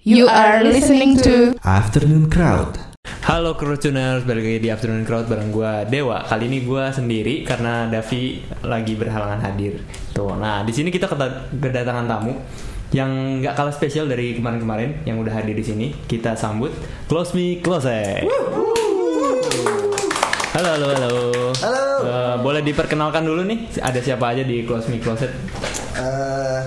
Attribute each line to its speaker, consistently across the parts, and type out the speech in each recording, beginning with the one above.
Speaker 1: You are listening to
Speaker 2: Afternoon Crowd.
Speaker 3: Halo Kerucuners, balik lagi di Afternoon Crowd bareng gue Dewa. Kali ini gue sendiri karena Davi lagi berhalangan hadir. Tuh, nah di sini kita keta- kedatangan tamu yang nggak kalah spesial dari kemarin-kemarin yang udah hadir di sini. Kita sambut Close Me Close. Halo, halo, halo.
Speaker 4: Halo.
Speaker 3: Eh, boleh diperkenalkan dulu nih, ada siapa aja di Close Me Closet?
Speaker 4: Eh,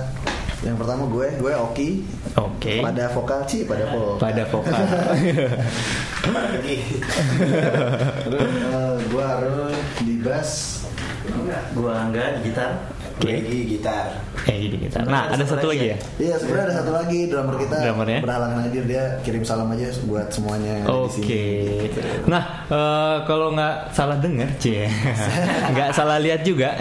Speaker 4: yang pertama gue, gue Oki.
Speaker 3: Oke.
Speaker 4: Pada vokal sih, pada vokal.
Speaker 3: Pada vokal.
Speaker 4: Terus, eh, gue Arun di bass.
Speaker 5: Gua Angga di gitar.
Speaker 3: Oke.
Speaker 5: Lagi gitar.
Speaker 3: Eh, gini kita. Nah, ada satu lagi ya.
Speaker 4: Iya, sebenarnya ada satu lagi drummer kita
Speaker 3: Drummernya?
Speaker 4: berhalangan hadir dia kirim salam aja buat semuanya yang ada di
Speaker 3: Oke.
Speaker 4: sini.
Speaker 3: Nah, eh, kalau nggak salah dengar, cie, nggak salah lihat juga.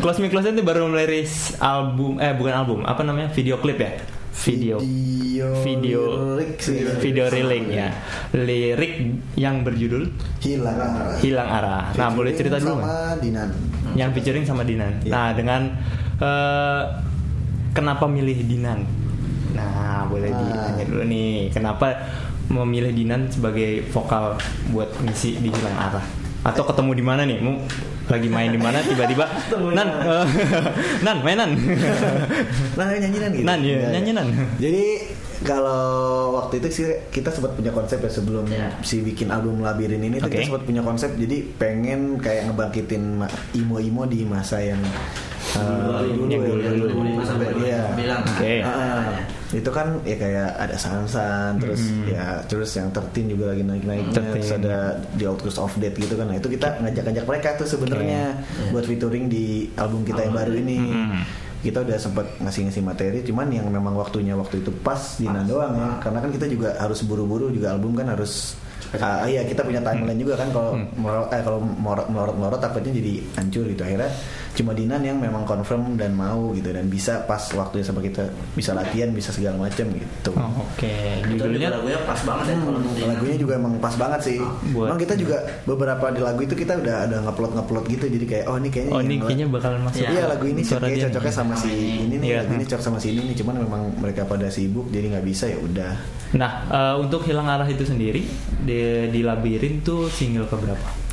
Speaker 3: Close Me Close itu baru merilis album, eh bukan album, apa namanya? Video klip ya? Video.
Speaker 4: Video.
Speaker 3: Video.
Speaker 4: lirik sih.
Speaker 3: Video riling ya. Lirik yang berjudul
Speaker 4: Hilang arah.
Speaker 3: Hilang Arah. Nah, boleh cerita dulu
Speaker 4: Sama
Speaker 3: nggak?
Speaker 4: Dinan.
Speaker 3: Yang featuring sama Dinan.
Speaker 4: Iya.
Speaker 3: Nah, dengan eh, kenapa milih Dinan? Nah, boleh
Speaker 4: Ah.
Speaker 3: ditanya dulu nih, kenapa memilih Dinan sebagai vokal buat ngisi di Hilang Arah? Atau ketemu di mana nih? Mu lagi main di mana tiba-tiba Nan eh, Nan mainan.
Speaker 4: Nah, nyanyi Nan gitu.
Speaker 3: Nan, iya,
Speaker 4: Iya,
Speaker 3: nyanyi
Speaker 4: iya.
Speaker 3: Nan.
Speaker 4: Jadi kalau waktu itu sih kita sempat punya konsep ya sebelum
Speaker 5: Iya.
Speaker 4: si bikin album Labirin ini tuh
Speaker 3: Oke.
Speaker 4: kita sempat punya konsep jadi pengen kayak ngebangkitin ma- imo-imo di masa yang uh,
Speaker 3: yang dulu,
Speaker 4: ya.
Speaker 3: dulu.
Speaker 4: Iya.
Speaker 5: bilang. kan? Iya.
Speaker 3: Oke.
Speaker 4: Ah, itu kan ya kayak ada Sansan terus
Speaker 3: Mm-hmm.
Speaker 4: ya terus yang tertin juga lagi naik-naiknya terus
Speaker 3: 13.
Speaker 4: ada The Outcast of Death gitu kan nah itu kita ngajak-ngajak mereka tuh sebenarnya
Speaker 3: Iya.
Speaker 4: buat featuring di album
Speaker 3: Oh.
Speaker 4: kita yang baru ini
Speaker 3: Hmm.
Speaker 4: kita udah sempat ngasih-ngasih materi cuman yang memang waktunya waktu itu pas di doang ya karena kan kita juga harus buru-buru juga album kan harus Ah iya kita punya
Speaker 3: Hmm.
Speaker 4: timeline juga kan kalau melor- eh, kalau melorot melorot melorot takutnya jadi hancur gitu akhirnya cuma Dinan yang memang confirm dan mau gitu dan bisa pas waktunya sama kita bisa latihan bisa segala macam gitu
Speaker 3: Oh, Oke,
Speaker 5: Itu juga
Speaker 3: judulnya
Speaker 5: lagunya pas banget ya kalau
Speaker 4: Hmm,
Speaker 5: nanti.
Speaker 4: lagunya juga emang pas banget sih.
Speaker 3: Buat-
Speaker 4: Emang kita juga beberapa di lagu itu kita udah ada ngeplot ngeplot gitu jadi kayak oh ini kayaknya
Speaker 3: Oh,
Speaker 4: yang
Speaker 3: ini
Speaker 4: la-
Speaker 3: kayaknya bakalan masuk.
Speaker 4: Iya lagu ini sih
Speaker 3: Suara
Speaker 4: kayak
Speaker 3: dia
Speaker 4: cocoknya
Speaker 3: nih.
Speaker 4: sama si ini nih,
Speaker 3: Iya.
Speaker 4: lagu ini cocok sama si ini nih. Cuman memang mereka pada sibuk jadi nggak bisa ya udah.
Speaker 3: Nah, eh, untuk Hilang Arah itu sendiri di, di Labirin tuh single keberapa?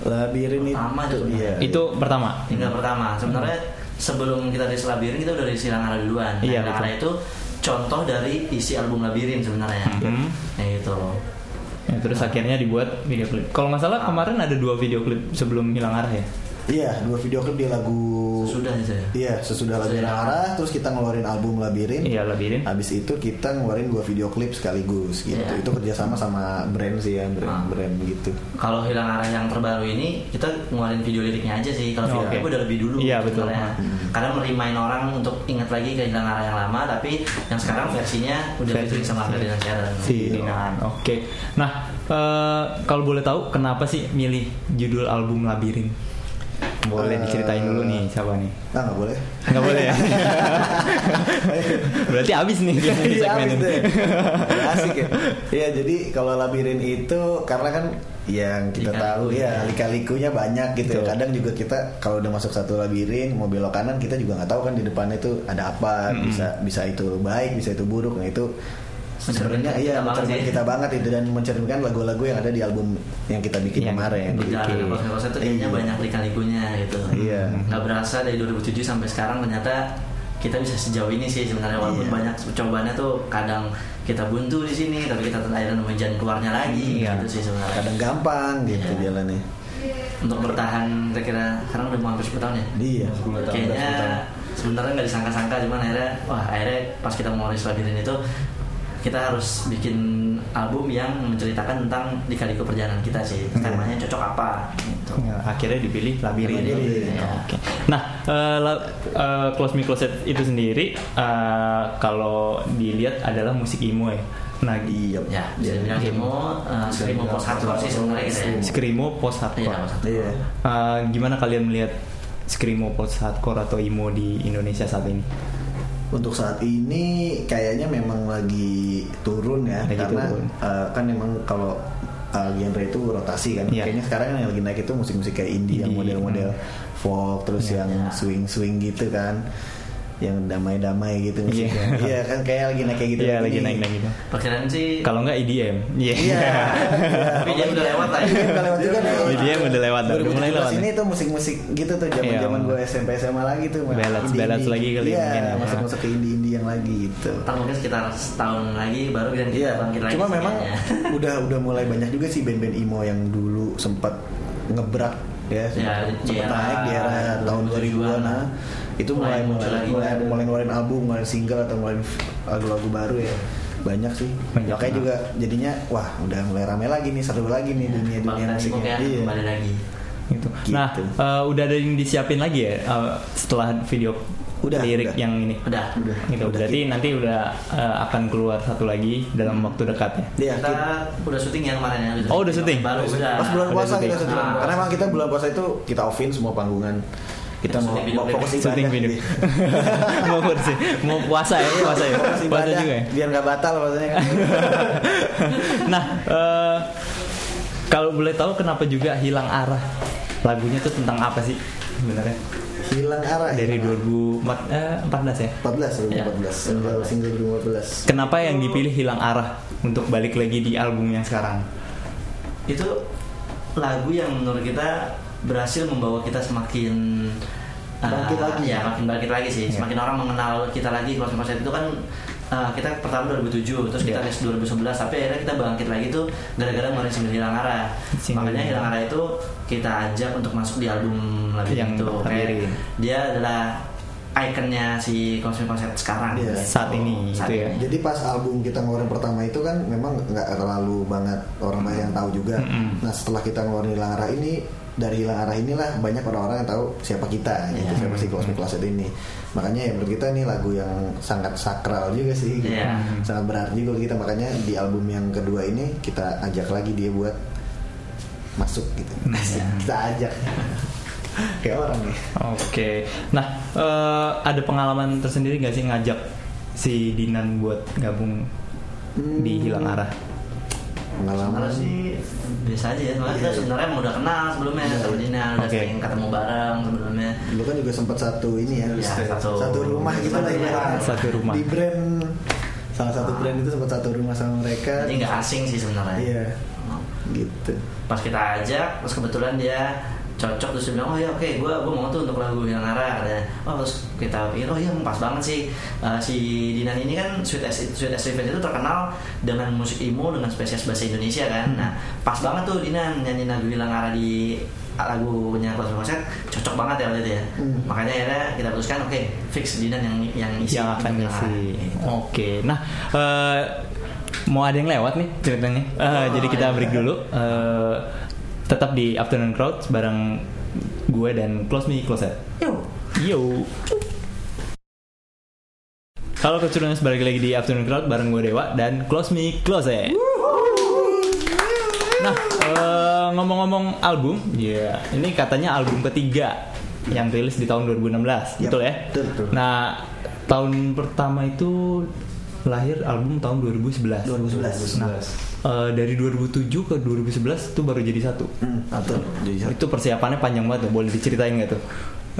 Speaker 4: Labirin itu
Speaker 5: Pertama itu
Speaker 4: iya.
Speaker 3: Itu Hmm. pertama.
Speaker 5: Tinggal pertama. Sebenarnya sebelum kita rilis labirin kita udah rilis hilang arah duluan. Nah,
Speaker 3: Iya,
Speaker 5: Hilang
Speaker 3: betul.
Speaker 5: arah itu contoh dari isi album labirin sebenarnya.
Speaker 3: Mhm.
Speaker 5: Ya gitu loh.
Speaker 3: Ya, terus akhirnya dibuat video klip. Kalau nggak salah kemarin ada dua video klip sebelum hilang arah ya.
Speaker 4: Iya dua video klip di lagu
Speaker 5: Sudah itu ya.
Speaker 4: Iya sesudah Labirin Arah terus kita ngeluarin album Labirin.
Speaker 3: Iya labirin.
Speaker 4: Habis itu kita ngeluarin dua video klip sekaligus gitu.
Speaker 5: Iya.
Speaker 4: Itu kerjasama sama brand sih ya,
Speaker 5: Ah.
Speaker 4: brand-brand gitu.
Speaker 5: Kalau hilang arah yang terbaru ini kita ngeluarin video liriknya aja sih. Kalau video
Speaker 3: Oke.
Speaker 5: klip udah lebih dulu
Speaker 3: Iya, betul.
Speaker 5: sebenarnya. Karena merimain orang untuk ingat lagi ke hilang arah yang lama tapi yang sekarang versinya udah
Speaker 3: Versi- Iya.
Speaker 5: featuring sama Ferdinand Sharon.
Speaker 3: Si Dinan. Oke. Nah, eh, kalau boleh tahu kenapa sih milih judul album labirin? Boleh
Speaker 4: Eh,
Speaker 3: diceritain dulu nih siapa nih?
Speaker 4: Nah nggak boleh.
Speaker 3: Nggak boleh ya? Berarti abis nih di
Speaker 4: Iya,
Speaker 3: segmen
Speaker 4: abis
Speaker 3: ini.
Speaker 4: deh. Asik ya. Iya, jadi kalau labirin itu karena kan yang kita tahu
Speaker 5: Lika-liku,
Speaker 4: ya
Speaker 5: ya.
Speaker 4: lika-likunya banyak gitu ya.
Speaker 3: Betul.
Speaker 4: Kadang juga kita kalau udah masuk satu labirin mau belok kanan kita juga nggak tahu kan di depannya itu ada apa, bisa bisa itu baik, bisa itu buruk. Nah, itu sebenarnya iya
Speaker 5: Mencerminkan kita banget
Speaker 4: mencerminkan
Speaker 5: sih.
Speaker 4: kita banget itu dan mencerminkan lagu-lagu yang ada di album yang kita bikin
Speaker 3: Yang
Speaker 4: kemarin. Gitu.
Speaker 3: bikin.
Speaker 5: Iya. Berjalan
Speaker 3: Oke.
Speaker 5: okay. proses itu kayaknya
Speaker 4: Iya.
Speaker 5: banyak lika-likunya gitu.
Speaker 4: Iya.
Speaker 5: Gak berasa dari 2007 sampai sekarang ternyata kita bisa sejauh ini sih sebenarnya walaupun
Speaker 4: Iya.
Speaker 5: banyak cobaannya tuh kadang kita buntu di sini tapi kita akhirnya nemuin jalan keluarnya lagi
Speaker 3: Iya.
Speaker 5: gitu sih sebenarnya.
Speaker 4: Kadang gampang gitu
Speaker 5: Iya.
Speaker 4: jalannya.
Speaker 5: Untuk bertahan kira-kira sekarang udah mau hampir 10 tahun ya.
Speaker 4: Iya, 10 tahun,
Speaker 5: Kayaknya
Speaker 4: udah 10 tahun.
Speaker 5: sebenarnya nggak disangka-sangka cuman akhirnya wah akhirnya pas kita mau rilis labirin itu kita harus bikin album yang menceritakan tentang lika-liku perjalanan kita sih
Speaker 4: Iya.
Speaker 5: temanya cocok apa gitu.
Speaker 3: Ya, akhirnya dipilih labirin.
Speaker 5: Labirin,
Speaker 3: Oke.
Speaker 4: iya.
Speaker 5: ya.
Speaker 3: Nah, eh, la- eh, close me closet itu sendiri eh, kalau dilihat adalah musik emo ya. Nah,
Speaker 4: Iya.
Speaker 5: Ya, bisa dibilang demo, uh, demo post hardcore sih sebenarnya gitu ya.
Speaker 3: screamo post
Speaker 5: Iya,
Speaker 3: hardcore.
Speaker 5: post hardcore.
Speaker 4: Iya.
Speaker 3: Eh, gimana kalian melihat screamo post hardcore atau emo di Indonesia saat ini?
Speaker 4: Untuk saat ini kayaknya memang lagi turun ya
Speaker 3: Lagi
Speaker 4: karena
Speaker 3: turun.
Speaker 4: eh, kan memang kalau eh, genre itu rotasi kan.
Speaker 3: Iya.
Speaker 4: Kayaknya sekarang yang lagi naik itu musik-musik kayak indie, yang
Speaker 3: Indie, Iya.
Speaker 4: model-model folk terus yang swing-swing gitu kan. yang damai-damai gitu
Speaker 3: Iya.
Speaker 4: musiknya. Iya kan kayak lagi naik kayak gitu.
Speaker 3: Iya
Speaker 4: lagi
Speaker 3: lagi
Speaker 4: nih.
Speaker 3: naik naik gitu.
Speaker 5: perkiraan sih
Speaker 3: Kalau nggak EDM. Iya.
Speaker 4: Iya.
Speaker 5: tapi dia udah lewat lah ya.
Speaker 4: Iya, udah lewat juga nih.
Speaker 3: EDM udah lewat. dah. Udah mulai
Speaker 4: 2017
Speaker 3: lewat.
Speaker 4: ini
Speaker 3: nih.
Speaker 4: tuh musik-musik gitu tuh zaman-zaman
Speaker 3: Iya.
Speaker 4: gue SMP SMA lagi tuh. Mas.
Speaker 3: Balance-
Speaker 4: Indie-indie.
Speaker 3: balance lagi kali
Speaker 4: Iya,
Speaker 3: mungkin. ya.
Speaker 4: masuk-masuk ke indie-indie yang lagi gitu.
Speaker 5: Ntar mungkin sekitar setahun lagi baru kita
Speaker 4: Iya,
Speaker 5: bangkit lagi
Speaker 4: cuma
Speaker 5: sih
Speaker 4: memang
Speaker 5: kayaknya.
Speaker 4: udah udah mulai banyak juga sih band-band emo yang dulu sempat ngeberat ya,
Speaker 5: Ya,
Speaker 4: sempat
Speaker 5: di
Speaker 4: sempat
Speaker 5: era
Speaker 4: naik di era tahun 2000-an nah, itu mulai
Speaker 5: Mulai
Speaker 4: mulai
Speaker 5: muncul lagi.
Speaker 4: mulai, mulai ngeluarin album, ngeluarin single atau ngeluarin lagu-lagu baru ya banyak sih
Speaker 3: Banyak.
Speaker 4: makanya juga jadinya wah udah mulai rame lagi nih seru lagi
Speaker 5: Iya,
Speaker 4: nih dunia dunia
Speaker 5: Bangkitan sih
Speaker 4: musiknya
Speaker 5: kayak
Speaker 4: iya
Speaker 5: ya, kembali lagi
Speaker 3: Gitu.
Speaker 4: Gitu.
Speaker 3: Nah, eh, udah ada yang disiapin lagi ya eh, setelah video
Speaker 4: Udah,
Speaker 3: lirik
Speaker 4: udah.
Speaker 3: yang ini.
Speaker 5: udah
Speaker 4: udah
Speaker 3: Gitu.
Speaker 4: udah
Speaker 3: Berarti nanti udah eh, akan keluar satu lagi dalam waktu dekat ya.
Speaker 4: Iya,
Speaker 5: kita
Speaker 4: kita-
Speaker 5: udah syuting yang kemarin ya
Speaker 3: Oh, udah syuting?
Speaker 5: baru
Speaker 3: Udah
Speaker 5: udah
Speaker 4: pas bulan
Speaker 3: udah ya.
Speaker 4: puasa
Speaker 3: syuting.
Speaker 4: kita syuting
Speaker 5: Ah.
Speaker 4: karena emang kita bulan puasa itu kita offin semua panggungan kita
Speaker 5: Kita
Speaker 4: mau,
Speaker 5: syuting
Speaker 4: mau
Speaker 5: video
Speaker 4: fokus
Speaker 5: clip.
Speaker 3: Syuting
Speaker 4: ibadah
Speaker 3: video.
Speaker 4: Iya.
Speaker 3: mau puasa, mau puasa ya, puasa ya,
Speaker 4: Fokus
Speaker 3: puasa
Speaker 4: ibadah,
Speaker 3: juga ya.
Speaker 4: biar nggak batal maksudnya kan
Speaker 3: Nah, eh, kalau boleh tahu kenapa juga hilang arah lagunya tuh tentang apa sih sebenarnya?
Speaker 4: hilang arah ya.
Speaker 3: Dari 2014 eh, 14 ya.
Speaker 4: 14
Speaker 5: Iya.
Speaker 4: 2014 single single 2014
Speaker 3: Kenapa yang dipilih hilang arah untuk balik lagi di album yang sekarang?
Speaker 5: itu lagu yang menurut kita berhasil membawa kita semakin uh,
Speaker 4: Bangkit lagi.
Speaker 5: ya makin bangkit lagi sih
Speaker 3: Iya.
Speaker 5: semakin orang mengenal kita lagi konsep-konsep itu kan uh, kita pertama 2007 terus kita
Speaker 3: Iya.
Speaker 5: rilis 2011 tapi akhirnya kita bangkit lagi tuh gara-gara ngeluarin single hilang arah
Speaker 3: Single
Speaker 5: makanya
Speaker 3: Hilang
Speaker 5: hilang arah itu kita ajak untuk masuk di album lagi
Speaker 3: Yang
Speaker 5: itu
Speaker 3: terakhir
Speaker 5: Kayak
Speaker 3: ini.
Speaker 5: dia adalah ikonnya si konsep-konsep sekarang
Speaker 4: Iya.
Speaker 3: Saat ini
Speaker 5: Saat
Speaker 3: gitu ya.
Speaker 4: jadi pas album kita ngeluarin pertama itu kan memang nggak terlalu banget orang banyak yang tahu juga
Speaker 3: Mm-mm.
Speaker 4: nah setelah kita ngeluarin hilang arah ini dari hilang arah inilah banyak orang-orang yang tahu siapa kita gitu
Speaker 3: Ya.
Speaker 5: Iya.
Speaker 4: siapa si Close Closet ini makanya ya menurut kita ini lagu yang sangat sakral juga sih gitu.
Speaker 5: Iya.
Speaker 3: Ya.
Speaker 4: sangat berarti juga kita makanya di album yang kedua ini kita ajak lagi dia buat masuk gitu
Speaker 3: Nah, ya.
Speaker 4: kita ajak kayak orang nih
Speaker 3: Oke. Nah, eh, ada pengalaman tersendiri nggak sih ngajak si Dinan buat gabung di hilang arah?
Speaker 4: pengalaman
Speaker 5: Sebenarnya sih biasa aja ya, soalnya kita
Speaker 4: Iya.
Speaker 5: sebenarnya emang udah kenal sebelumnya
Speaker 4: Iya,
Speaker 5: sama
Speaker 4: iya.
Speaker 5: Dina, udah
Speaker 3: Oke.
Speaker 5: sering ketemu bareng sebelumnya.
Speaker 4: Lu kan juga sempat satu ini ya,
Speaker 5: Iya, satu-
Speaker 4: rumah gitu lah
Speaker 5: Iya,
Speaker 4: ibaratnya.
Speaker 3: satu rumah.
Speaker 4: Di brand salah satu brand itu sempat satu rumah sama mereka.
Speaker 5: Jadi nggak asing sih sebenarnya.
Speaker 4: Iya. Gitu.
Speaker 5: Pas kita ajak, terus kebetulan dia cocok terus dia bilang oh ya oke gue gue mau tuh untuk lagu yang arah katanya oh terus kita pikir oh iya pas banget sih Eh, si Dinan ini kan Sweet as Sweet as Revenge itu terkenal dengan musik emo dengan spesies bahasa Indonesia kan
Speaker 3: Hmm.
Speaker 5: nah pas banget tuh Dinan nyanyi lagu hilang arah di lagunya Close Concert cocok banget ya waktu itu ya
Speaker 4: Hmm.
Speaker 5: makanya akhirnya kita putuskan oke fix Dinan yang yang isi
Speaker 3: yang akan
Speaker 5: Hilang Arah.
Speaker 3: ngisi.
Speaker 5: Gitu.
Speaker 3: Oke, nah eh, mau ada yang lewat nih ceritanya. Eh,
Speaker 5: Oh,
Speaker 3: jadi kita
Speaker 5: iya.
Speaker 3: break dulu. Eh, tetap di Afternoon Crowd bareng gue dan Close Me Closet. Yo. Halo Kecurnas, balik lagi di Afternoon Crowd bareng gue Dewa dan Close Me Closet. Nah, eh, ngomong-ngomong album, ya ini katanya album ketiga yang rilis di tahun 2016,
Speaker 4: Yap,
Speaker 3: betul ya?
Speaker 4: betul, betul.
Speaker 3: Nah, tahun pertama itu lahir album tahun 2011.
Speaker 4: 2011.
Speaker 3: Nah, eh, dari 2007 ke 2011 itu baru jadi satu.
Speaker 4: Hmm, atau jadi satu.
Speaker 3: Itu persiapannya panjang banget tuh, boleh diceritain nggak tuh?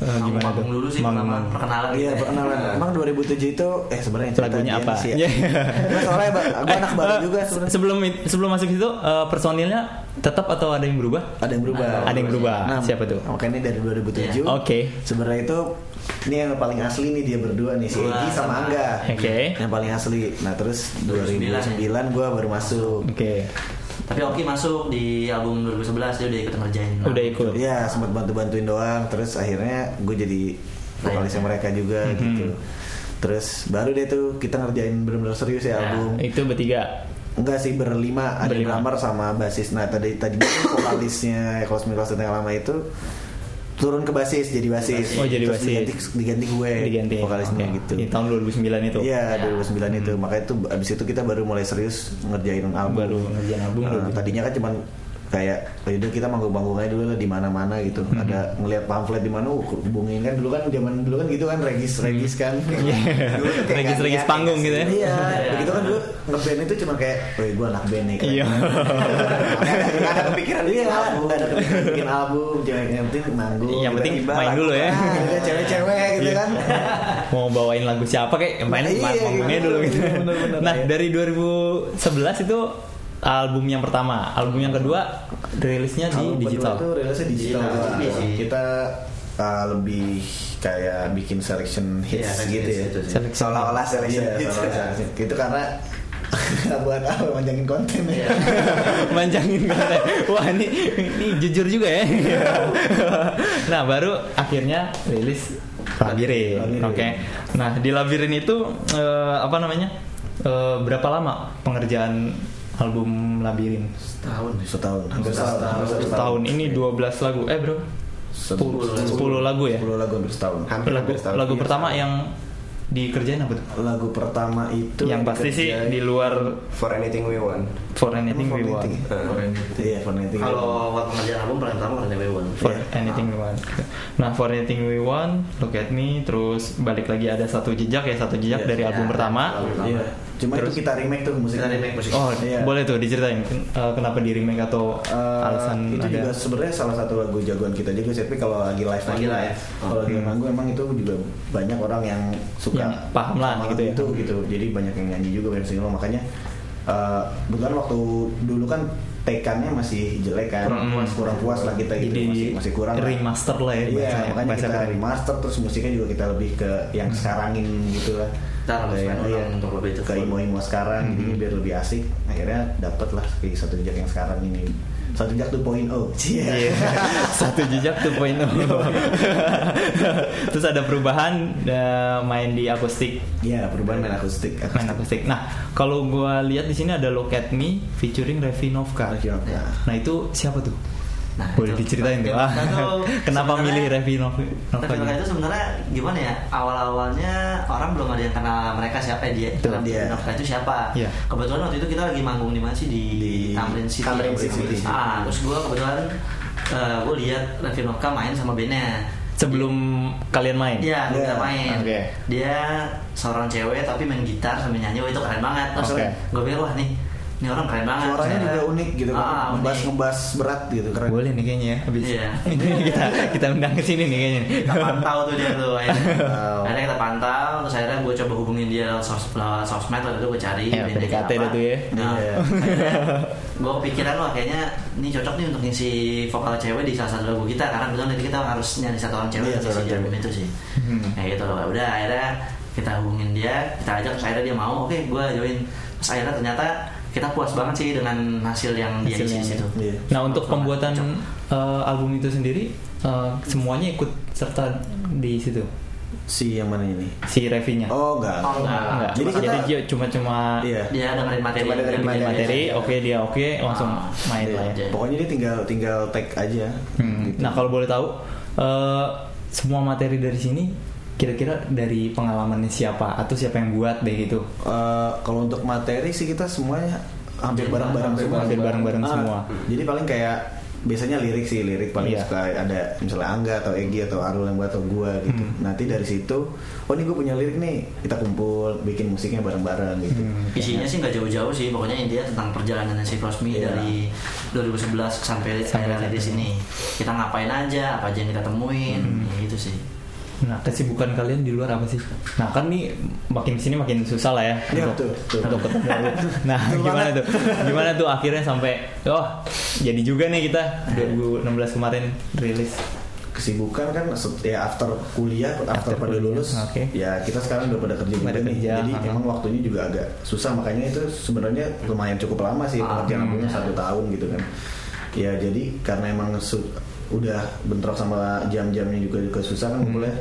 Speaker 3: Eh, gimana
Speaker 5: Manggung
Speaker 3: tuh?
Speaker 5: dulu sih
Speaker 3: Manggung.
Speaker 5: perkenalan perkenalan
Speaker 4: Iya,
Speaker 5: gitu ya.
Speaker 4: perkenalan. Emang 2007 itu eh sebenarnya cerita
Speaker 3: Lagunya
Speaker 4: dia
Speaker 3: apa?
Speaker 4: sih
Speaker 3: Iya.
Speaker 4: Ya. Nah, soalnya ba- gua anak baru
Speaker 3: Eh,
Speaker 4: juga
Speaker 3: se-
Speaker 4: sebenarnya.
Speaker 3: Sebelum it- sebelum masuk situ eh, personilnya tetap atau ada yang berubah?
Speaker 4: Ada yang berubah.
Speaker 3: Ada yang berubah.
Speaker 4: Nah,
Speaker 3: Siapa tuh?
Speaker 4: Makanya dari 2007.
Speaker 3: Iya. Oke.
Speaker 4: Sebenarnya itu ini yang paling asli nih dia berdua nih si
Speaker 5: Dua
Speaker 4: Egi
Speaker 5: sama-
Speaker 4: sama Angga.
Speaker 3: Oke.
Speaker 4: Yang paling asli. Nah, terus
Speaker 5: 2009
Speaker 4: 2009, gua baru masuk.
Speaker 3: Oke.
Speaker 5: Tapi Oki masuk di album 2011 dia udah ikut ngerjain.
Speaker 3: Udah ikut.
Speaker 4: Iya sempat bantu-bantuin doang Terus akhirnya gue jadi vokalisnya mereka juga
Speaker 3: Hmm.
Speaker 4: gitu Terus baru deh tuh kita ngerjain bener-bener serius ya
Speaker 5: Ya.
Speaker 4: album
Speaker 3: Itu bertiga.
Speaker 4: Enggak sih
Speaker 3: Nah,
Speaker 4: berlima Ada
Speaker 3: iya. Berlima.
Speaker 4: drummer sama basis Nah tadi tadi tuh vokalisnya Cosmic Lost yang lama itu turun ke basis jadi basis
Speaker 3: Oh, jadi
Speaker 4: Terus
Speaker 3: basis.
Speaker 4: diganti, diganti gue
Speaker 3: Diganti. Oh,
Speaker 4: Eh,
Speaker 3: iya.
Speaker 4: vokalisnya
Speaker 3: Oke.
Speaker 4: gitu
Speaker 3: Di tahun 2009 itu.
Speaker 4: Iya
Speaker 5: Ya.
Speaker 4: 2009 itu
Speaker 3: Hmm.
Speaker 4: makanya tuh abis itu kita baru mulai serius ngerjain album.
Speaker 3: Baru ngerjain album
Speaker 4: Nah,
Speaker 3: 2009.
Speaker 4: tadinya kan cuman kayak oh yaudah kita manggung-manggung aja dulu lah di mana-mana gitu
Speaker 3: Mm-hmm.
Speaker 4: ada ngelihat pamflet di mana uh, hubungin kan dulu kan zaman dulu kan gitu kan regis regis kan Dulu tuh kayak
Speaker 3: Regis-
Speaker 4: nggak
Speaker 3: regis
Speaker 4: niat,
Speaker 3: Mm-hmm. panggung gitu
Speaker 4: nggak
Speaker 3: ya.
Speaker 4: sih. iya begitu kan dulu ngeband itu cuma kayak oh gue anak band nih keren.
Speaker 3: Iya.
Speaker 4: Nggak ada- nggak ada kepikiran dia nggak ada kepikiran bikin album cewek yang penting manggung
Speaker 3: Iya, Yang penting
Speaker 4: tiba-tiba
Speaker 3: main
Speaker 4: lagu.
Speaker 3: dulu ya.
Speaker 4: Ah, gitu, cewek-cewek gitu
Speaker 3: Iya.
Speaker 4: kan
Speaker 3: mau bawain lagu siapa kayak main
Speaker 4: Iya,
Speaker 3: main
Speaker 4: iya,
Speaker 3: manggungnya
Speaker 4: iya,
Speaker 3: dulu
Speaker 4: iya,
Speaker 3: gitu.
Speaker 4: bener-bener,
Speaker 3: nah,
Speaker 4: iya.
Speaker 3: dari 2011 itu album yang pertama, album yang kedua rilisnya di
Speaker 4: Album
Speaker 3: digital. gitu.
Speaker 4: kedua Itu rilisnya digital.
Speaker 5: Digital,
Speaker 4: Wah,
Speaker 5: iya sih.
Speaker 4: Kita uh, lebih kayak bikin selection hits
Speaker 5: Iya, selection
Speaker 4: gitu ya.
Speaker 5: hits itu sih.
Speaker 3: Selection.
Speaker 4: Seolah-olah selection
Speaker 5: Iya,
Speaker 4: hits.
Speaker 5: seolah-olah selection.
Speaker 4: Itu karena kita buat apa manjangin konten
Speaker 5: Iya.
Speaker 4: ya.
Speaker 3: Manjangin konten. Wah, ini ini jujur juga ya.
Speaker 4: Iya.
Speaker 3: nah, baru akhirnya rilis Labirin.
Speaker 4: Labirin.
Speaker 3: Oke. Nah, di Labirin itu eh, apa namanya? Eh, berapa lama pengerjaan album Labirin?
Speaker 5: Setahun ya.
Speaker 4: Setahun, hampir
Speaker 5: Setahun.
Speaker 4: setahun, hampir
Speaker 5: Setahun.
Speaker 3: Tahun ini 12 lagu. Eh, Bro. 10, lagu ya?
Speaker 4: 10 lagu hampir setahun.
Speaker 3: lagu, lagu
Speaker 5: Iya.
Speaker 3: pertama yang dikerjain apa tuh?
Speaker 4: lagu pertama itu
Speaker 3: yang pasti sih
Speaker 4: dikerjain-
Speaker 3: di luar
Speaker 2: For anything we want.
Speaker 3: for anything we want.
Speaker 4: Anything. Iya, for anything.
Speaker 5: Kalau buat pengerjaan album paling pertama karena Wewan.
Speaker 3: For
Speaker 5: Iya.
Speaker 3: anything we want. Nah, for anything we want, look at me, terus balik lagi ada satu jejak ya, satu jejak
Speaker 4: Yes,
Speaker 3: dari
Speaker 5: ya,
Speaker 3: album pertama.
Speaker 5: album pertama.
Speaker 4: Iya. Cuma
Speaker 3: Terus-
Speaker 4: itu kita remake tuh musiknya.
Speaker 5: Kita remake musik.
Speaker 3: Oh,
Speaker 4: Iya.
Speaker 3: boleh tuh diceritain ken- eh, kenapa di remake atau
Speaker 4: Eh,
Speaker 3: alasan
Speaker 4: itu
Speaker 3: ada.
Speaker 4: juga sebenarnya salah satu lagu jagoan kita juga sih tapi kalau lagi live
Speaker 5: Lagi
Speaker 4: manggung,
Speaker 5: live.
Speaker 4: kalau lagi
Speaker 3: Hmm.
Speaker 4: manggung emang itu juga banyak orang yang suka
Speaker 3: Yang paham lah
Speaker 4: sama
Speaker 3: gitu ya.
Speaker 4: itu gitu jadi banyak yang nyanyi juga banyak single makanya eh bukan waktu dulu kan tekannya masih jelek kan
Speaker 3: Kurang puas.
Speaker 4: kurang puas lah kita gitu
Speaker 3: Jadi
Speaker 4: masih masih kurang lah.
Speaker 3: remaster lah ya
Speaker 4: Iya,
Speaker 3: bahasanya,
Speaker 4: makanya
Speaker 3: bahasa
Speaker 4: kita
Speaker 3: keren.
Speaker 4: remaster terus musiknya juga kita lebih ke yang sekarangin gitu lah.
Speaker 5: Cara
Speaker 4: Kayak, iya,
Speaker 5: main orang untuk lebih itu
Speaker 4: ke
Speaker 5: full.
Speaker 4: imo-imo sekarang
Speaker 3: Mhm.
Speaker 4: jadi biar lebih asik. Akhirnya dapet lah kayak satu jejak yang sekarang ini. Satu jejak oh. 2.0.
Speaker 3: Iya. Satu jejak tuh poin Terus ada perubahan eh, main di akustik
Speaker 4: Iya, perubahan main akustik.
Speaker 3: main akustik. Nah, kalau gua lihat di sini ada Look at Me featuring Revi Novka.
Speaker 4: Revi Novka.
Speaker 3: Nah, itu siapa tuh?
Speaker 5: Nah,
Speaker 3: Boleh
Speaker 5: itu.
Speaker 3: diceritain tuh.
Speaker 5: Revi
Speaker 3: Ah,
Speaker 5: Novka tuh
Speaker 3: Kenapa
Speaker 5: sebenarnya-
Speaker 3: milih Revi Nov- Novka?
Speaker 5: Tapi mereka
Speaker 3: gitu?
Speaker 5: itu sebenarnya gimana ya? Awal-awalnya orang belum ada yang kenal mereka siapa ya, dia.
Speaker 4: Betul,
Speaker 5: Kenal
Speaker 4: iya.
Speaker 5: Novka itu siapa?
Speaker 3: Iya.
Speaker 5: Kebetulan waktu itu kita lagi manggung di mana sih di,
Speaker 4: Di
Speaker 5: Tamrin City.
Speaker 4: Tamrin City.
Speaker 5: Ah, terus gue kebetulan eh, gue lihat Revi Novka main sama bandnya.
Speaker 3: Sebelum kalian main.
Speaker 5: Iya,
Speaker 4: Iya.
Speaker 5: dia main.
Speaker 3: Oke.
Speaker 5: Dia seorang cewek tapi main gitar sambil nyanyi, wah itu keren banget. Terus
Speaker 3: Oke.
Speaker 5: gue pikir wah nih, ini orang keren banget.
Speaker 4: Suaranya
Speaker 5: Ternyata-
Speaker 4: juga unik gitu kan.
Speaker 5: Ah,
Speaker 4: ngebas
Speaker 5: unik.
Speaker 4: ngebas berat gitu keren.
Speaker 3: Boleh nih kayaknya ya habis.
Speaker 5: Iya.
Speaker 3: Ini kita kita undang ke sini nih kayaknya.
Speaker 5: kita pantau tuh dia tuh akhirnya.
Speaker 4: Wow.
Speaker 5: akhirnya kita pantau terus akhirnya gue coba hubungin dia lewat sos lewat sosmed waktu itu gue cari
Speaker 3: Ya,
Speaker 5: bandnya
Speaker 3: PDKT
Speaker 5: kayak apa.
Speaker 3: deh tuh ya.
Speaker 5: nah,
Speaker 4: Iya.
Speaker 5: gue kepikiran wah kayaknya ini cocok nih untuk ngisi vokal cewek di salah satu lagu kita karena kebetulan nanti kita harus nyari satu orang cewek
Speaker 4: Iya,
Speaker 5: untuk ngisi
Speaker 4: seorang
Speaker 5: di album itu sih ya gitu loh udah akhirnya kita hubungin dia kita ajak terus akhirnya dia mau oke gue join terus akhirnya ternyata kita puas banget sih dengan hasil yang dia
Speaker 3: Hasilnya.
Speaker 5: isi situ
Speaker 4: Iya.
Speaker 3: Nah, untuk
Speaker 5: Cocok banget,
Speaker 3: pembuatan
Speaker 5: cocok.
Speaker 3: eh, album itu sendiri eh, semuanya ikut serta di situ.
Speaker 4: Si yang mana ini?
Speaker 3: Si Revinya.
Speaker 4: Oh enggak.
Speaker 5: Oh, enggak.
Speaker 3: Enggak.
Speaker 4: Jadi
Speaker 3: Jadi,
Speaker 4: kita
Speaker 3: dia cuma-cuma
Speaker 4: Iya.
Speaker 5: dia dengerin materi
Speaker 4: Cuma dengerin
Speaker 5: yang
Speaker 3: bikin
Speaker 5: dia bikin.
Speaker 3: materi, oke dia oke, langsung
Speaker 5: Ah,
Speaker 3: main
Speaker 4: Iya.
Speaker 3: lah ya.
Speaker 5: aja.
Speaker 4: Pokoknya dia tinggal tinggal tag aja.
Speaker 3: Hmm,
Speaker 4: Gitu.
Speaker 3: Nah kalau boleh tahu eh, semua materi dari sini kira-kira dari pengalamannya siapa atau siapa yang buat deh gitu.
Speaker 4: Eh, kalau untuk materi sih kita semuanya hampir bareng-bareng
Speaker 3: Hampir
Speaker 4: semua.
Speaker 3: bareng-bareng
Speaker 4: Ah,
Speaker 3: semua.
Speaker 4: Jadi paling kayak biasanya lirik sih lirik paling
Speaker 3: Iya.
Speaker 4: suka ada misalnya Angga atau Egi atau Arul yang buat atau gua gitu.
Speaker 3: Hmm.
Speaker 4: Nanti dari situ, oh ini gue punya lirik nih, kita kumpul bikin musiknya bareng-bareng gitu.
Speaker 3: Hmm.
Speaker 5: Isinya sih nggak jauh-jauh sih, pokoknya intinya tentang perjalanannya si Rosmi
Speaker 4: Iya.
Speaker 5: dari 2011 sampai,
Speaker 3: Sampai
Speaker 5: akhirnya di
Speaker 3: saat
Speaker 5: sini. Kita ngapain aja, apa aja yang kita temuin, gitu sih.
Speaker 3: Nah kesibukan kalian di luar apa sih? Nah kan nih makin sini makin susah lah ya.
Speaker 4: Iya,
Speaker 3: untuk-
Speaker 4: betul, betul.
Speaker 3: untuk ketemu lu. Nah gimana tuh? Gimana tuh akhirnya sampai oh jadi juga nih kita 2016 kemarin rilis.
Speaker 4: Kesibukan kan se- ya after kuliah,
Speaker 3: After
Speaker 4: after, pada
Speaker 3: kuliah,
Speaker 4: lulus,
Speaker 3: oke.
Speaker 4: ya kita sekarang udah pada kerja juga
Speaker 3: Pada
Speaker 4: nih.
Speaker 3: kerja,
Speaker 4: Jadi
Speaker 3: aha.
Speaker 4: emang waktunya juga agak susah makanya itu sebenarnya lumayan cukup lama sih
Speaker 5: Ah,
Speaker 4: pengerjaan
Speaker 5: hmm.
Speaker 4: albumnya satu tahun gitu kan. Ya jadi karena emang su- udah bentrok sama jam-jamnya juga juga susah kan
Speaker 3: Hmm.
Speaker 4: ngumpulnya.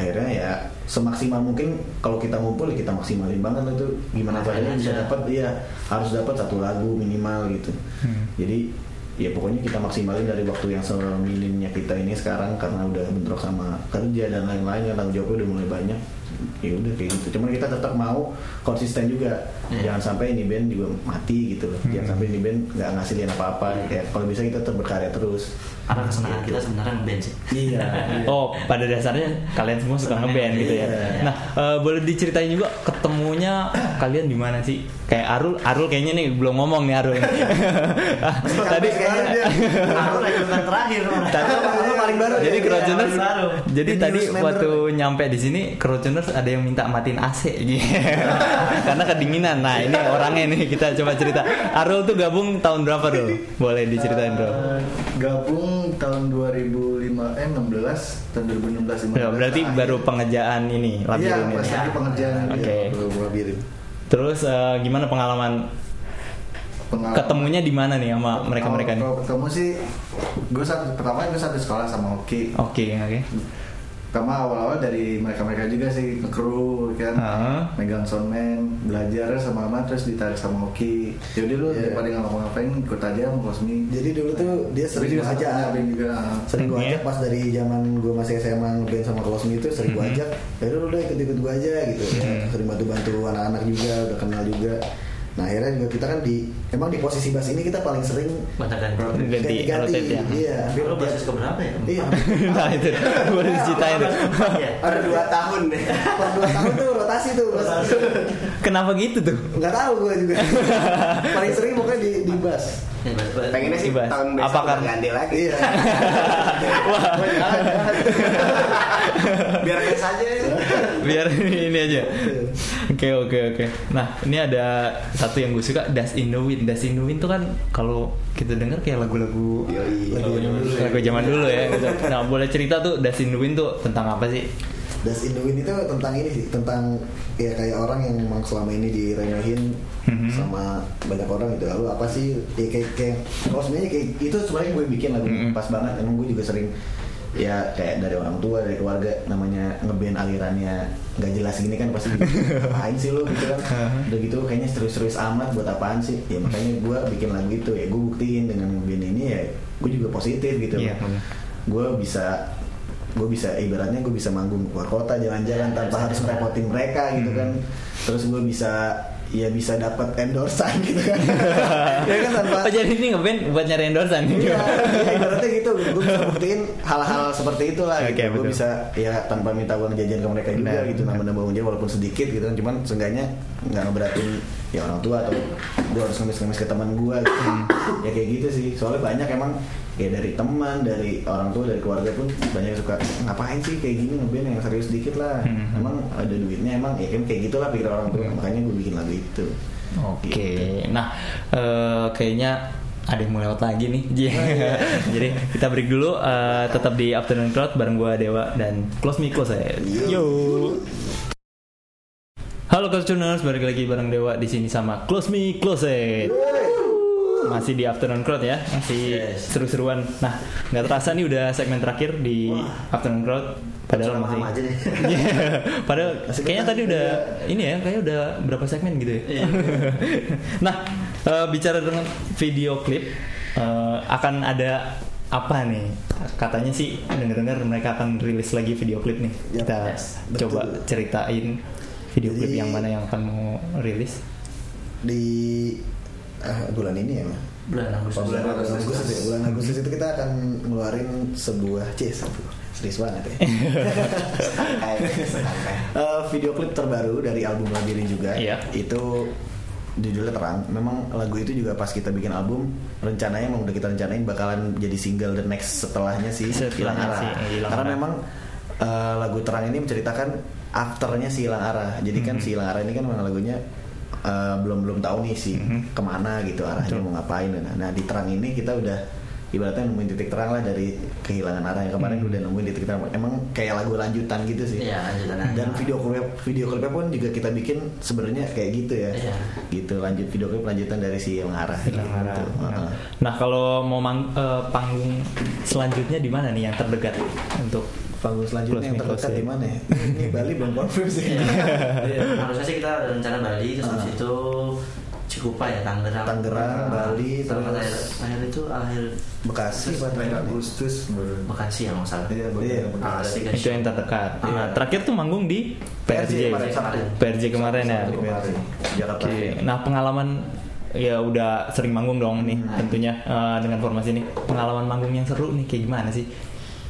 Speaker 4: Akhirnya ya semaksimal mungkin kalau kita ngumpul ya kita maksimalin banget itu gimana
Speaker 5: Makanya
Speaker 4: caranya bisa
Speaker 5: aja.
Speaker 4: dapat ya harus dapat satu lagu minimal gitu.
Speaker 3: Hmm.
Speaker 4: Jadi ya pokoknya kita maksimalin dari waktu yang semilimnya kita ini sekarang karena udah bentrok sama kerja dan lain-lain kan tanggung jawabnya udah mulai banyak
Speaker 6: ya udah kayak gitu cuman kita tetap mau konsisten juga
Speaker 5: Iya.
Speaker 6: jangan sampai ini band juga mati gitu loh
Speaker 3: Hmm.
Speaker 6: jangan sampai ini band nggak ngasilin apa-apa
Speaker 3: Iya.
Speaker 6: ya kalau bisa kita tetap berkarya terus
Speaker 5: Karena kesenangan kita sebenarnya ngeband sih.
Speaker 6: iya
Speaker 3: Oh, pada dasarnya kalian semua suka
Speaker 5: Senang
Speaker 3: ngeband gitu ya.
Speaker 6: Iya.
Speaker 3: Nah, eh, boleh diceritain juga ketemunya kalian di mana sih? Kayak Arul, Arul kayaknya nih belum ngomong nih Arul.
Speaker 6: Tadi
Speaker 3: Tadi
Speaker 6: kayaknya dia
Speaker 5: Aku rekrutan terakhir. malah.
Speaker 6: Tadi lu paling baru
Speaker 3: jadi
Speaker 6: ya?
Speaker 3: keroconers
Speaker 5: Iya, baru.
Speaker 3: jadi
Speaker 6: Ini
Speaker 3: tadi
Speaker 6: news member.
Speaker 3: waktu nyampe di sini keroconers ada yang minta matiin AC gitu. karena kedinginan nah ini orangnya nih kita coba cerita Arul tuh gabung tahun berapa Arul boleh diceritain Arul
Speaker 4: Eh, gabung tahun 2005 eh 16 tahun 2016
Speaker 3: Ya, berarti baru pengejaan ini
Speaker 4: Iya,
Speaker 3: labirin
Speaker 4: Ah, pas
Speaker 3: ini
Speaker 4: lagi pengerjaan
Speaker 3: Oke.
Speaker 4: iya, baru labirin.
Speaker 3: terus eh, gimana pengalaman
Speaker 4: Pengalaman-
Speaker 3: ketemunya di mana nih sama mereka mereka nih
Speaker 4: Kalau ketemu sih gue satu pertama gue satu sekolah sama Oki.
Speaker 3: oke oke
Speaker 4: Pertama awal-awal dari mereka-mereka juga sih kru kan.
Speaker 3: Heeh.
Speaker 4: Megang soundman, belajar sama lama terus ditarik sama Oki. Jadi lu
Speaker 6: Iya.
Speaker 4: daripada nggak ngapain ikut aja sama Kosmi.
Speaker 6: jadi dulu tuh dia
Speaker 4: Tapi
Speaker 6: sering
Speaker 4: juga
Speaker 6: gua
Speaker 4: sama
Speaker 6: ajak
Speaker 4: Abing juga.
Speaker 6: sering gua
Speaker 3: Iya.
Speaker 6: ajak pas dari zaman gua masih SMA ngeband sama Kosmi itu sering gua ajak akhirnya udah ikut-ikut gua aja gitu ya. sering bantu-bantu anak-anak juga udah kenal juga nah akhirnya juga kita kan di emang di posisi bass ini kita paling sering
Speaker 5: Mata ganti.
Speaker 3: ganti
Speaker 6: ganti-ganti
Speaker 3: rotate ya
Speaker 6: iya hampir
Speaker 5: Lu basis keberapa ya?
Speaker 6: iya
Speaker 3: nah itu boleh diceritain tuh
Speaker 6: ada dua tahun deh per dua tahun tuh rotasi tuh
Speaker 3: kenapa gitu tuh
Speaker 6: nggak tahu gua juga paling sering pokoknya di di bass
Speaker 7: Pengennya sih
Speaker 3: Dibahas.
Speaker 7: tahun besok
Speaker 3: Apa
Speaker 7: udah
Speaker 3: karena-
Speaker 7: ganti lagi.
Speaker 6: iya
Speaker 7: Biar biasa aja.
Speaker 3: biar ini aja oke oke oke nah ini ada satu yang gue suka Das in the Wind Das in the Wind tuh kan kalau kita denger kayak lagu-lagu
Speaker 6: Lagu zaman dulu ya.
Speaker 3: lagu zaman dulu ya gitu. nah boleh cerita tuh Das in the Wind tuh tentang apa sih
Speaker 6: Das in the Wind itu tentang ini sih, tentang ya kayak orang yang memang selama ini diremehin
Speaker 4: Mhm.
Speaker 6: sama banyak orang gitu. Lalu apa sih? Ya kayak kayak oh sebenarnya kayak itu sebenarnya gue bikin lagu
Speaker 3: Mhm.
Speaker 6: pas banget. Emang gue juga sering ya kayak dari orang tua dari keluarga namanya ngeband alirannya nggak jelas gini kan pasti apain sih lo gitu
Speaker 5: Iya.
Speaker 6: kan udah gitu kayaknya serius-serius amat buat apaan sih ya makanya gue bikin lagu itu ya gue buktiin dengan ngeband ini ya gue juga positif gitu
Speaker 3: Iya, bener.
Speaker 6: gue bisa gue bisa ibaratnya gue bisa manggung keluar kota jalan-jalan tanpa harus merepotin mereka gitu kan terus gue bisa ya bisa dapat endorsean gitu kan ya kan
Speaker 3: oh
Speaker 6: tanpa
Speaker 3: jadi ini ngeband buat nyari endorsean
Speaker 6: Iya, iya, ibaratnya gitu gue bisa buktiin hal-hal seperti itulah
Speaker 3: Oke,
Speaker 6: gitu. gue
Speaker 3: betul.
Speaker 6: bisa ya tanpa minta uang jajan ke mereka
Speaker 3: Benar,
Speaker 6: juga gitu nambah-nambah uang jajan walaupun sedikit gitu kan cuman seenggaknya nggak ngeberatin ya orang tua atau gue harus ngemis-ngemis ke teman gue gitu.
Speaker 3: Hmm.
Speaker 6: ya kayak gitu sih soalnya banyak emang ya dari teman dari orang tua dari keluarga pun banyak yang suka ngapain sih kayak gini ngeband yang serius dikit lah
Speaker 3: Hmm.
Speaker 6: emang ada duitnya emang ya kan kayak gitulah pikir orang tua makanya gue bikin lagu itu
Speaker 3: Oke, nah eh, kayaknya ada yang mau lewat lagi nih. Jadi kita break dulu, eh, tetap di Afternoon Crowd bareng gua Dewa dan Close Me Close saya. Yo. Halo Tuners, balik lagi bareng Dewa di sini sama Close Me Close It. Masih di Afternoon Crowd ya, masih
Speaker 5: Yes.
Speaker 3: seru-seruan. Nah, nggak terasa nih udah segmen terakhir di Afternoon Crowd. Padahal
Speaker 5: Lama-lama
Speaker 3: masih,
Speaker 5: aja deh.
Speaker 3: Iya, padahal
Speaker 6: Masih
Speaker 3: kayaknya
Speaker 6: betah.
Speaker 3: tadi udah ini ya, kayaknya udah berapa segmen gitu ya.
Speaker 6: Iya.
Speaker 3: nah, eh, bicara dengan video klip eh, akan ada apa nih? Katanya sih dengar-dengar mereka akan rilis lagi video klip nih.
Speaker 6: Yap.
Speaker 3: Kita
Speaker 6: Yes,
Speaker 3: coba
Speaker 6: betul.
Speaker 3: ceritain video klip
Speaker 6: Jadi-
Speaker 3: yang mana yang akan mau rilis.
Speaker 6: di ah, bulan ini ya Mas?
Speaker 5: Bulan Agustus.
Speaker 6: bulan Agustus, ya, bulan Agustus itu kita akan ngeluarin sebuah C satu serius banget ya Eh, video klip terbaru dari album Labirin juga
Speaker 3: Iya.
Speaker 6: itu judulnya terang memang lagu itu juga pas kita bikin album rencananya emang udah kita rencanain bakalan jadi single the next setelahnya sih
Speaker 3: Setelahnya
Speaker 6: hilang arah
Speaker 3: sih, Hilang
Speaker 6: karena
Speaker 3: Arah.
Speaker 6: memang eh, lagu terang ini menceritakan afternya si hilang arah jadi kan
Speaker 3: Mm-hmm.
Speaker 6: si hilang arah ini kan memang lagunya eh, belum belum tahu nih si
Speaker 3: Mhm.
Speaker 6: kemana gitu arahnya
Speaker 3: Betul.
Speaker 6: mau ngapain nah, nah di terang ini kita udah ibaratnya nemuin titik terang lah dari kehilangan arah yang kemarin
Speaker 3: Mhm.
Speaker 6: udah nemuin titik terang emang kayak lagu lanjutan gitu sih
Speaker 5: Iya, lanjutan aja.
Speaker 3: Mm-hmm.
Speaker 6: dan video klip video klipnya pun juga kita bikin sebenarnya kayak gitu ya
Speaker 5: Iya.
Speaker 6: gitu lanjut video klip lanjutan dari si hilang arah
Speaker 3: Hilang
Speaker 6: gitu.
Speaker 3: Arah.
Speaker 6: Heeh.
Speaker 3: Nah, kalau mau mang- eh, panggung selanjutnya di mana nih yang terdekat untuk
Speaker 6: panggung selanjutnya yang
Speaker 3: Close me,
Speaker 6: terdekat
Speaker 3: close
Speaker 6: di
Speaker 3: it.
Speaker 6: mana ya ini
Speaker 3: Iya.
Speaker 6: Bali belum confirm sih
Speaker 5: Iya, Harusnya sih kita ada rencana Bali terus habis itu cukup lah ya Tangerang
Speaker 6: Ah. Tangerang, Bali,
Speaker 5: Sampai
Speaker 6: terus-
Speaker 5: akhir, akhir itu akhir
Speaker 6: Bekasi,
Speaker 5: terus
Speaker 6: Pak.
Speaker 4: Sampai Agustus baru.
Speaker 5: Bekasi ya nggak salah
Speaker 4: Iya,
Speaker 6: Iya.
Speaker 4: benar.
Speaker 5: Bekasi kan.
Speaker 3: itu yang terdekat. Nah,
Speaker 6: Iya.
Speaker 3: terakhir tuh manggung di
Speaker 6: PRJ
Speaker 3: PRJ.
Speaker 6: kemarin, Sabtu.
Speaker 3: PRJ kemarin ya.
Speaker 6: Iya, Di PRJ, Jakarta.
Speaker 3: Oke. Nah, pengalaman ya udah sering manggung dong nih
Speaker 6: Hmm.
Speaker 3: tentunya eh, dengan formasi ini. Pengalaman manggung yang seru nih kayak gimana sih?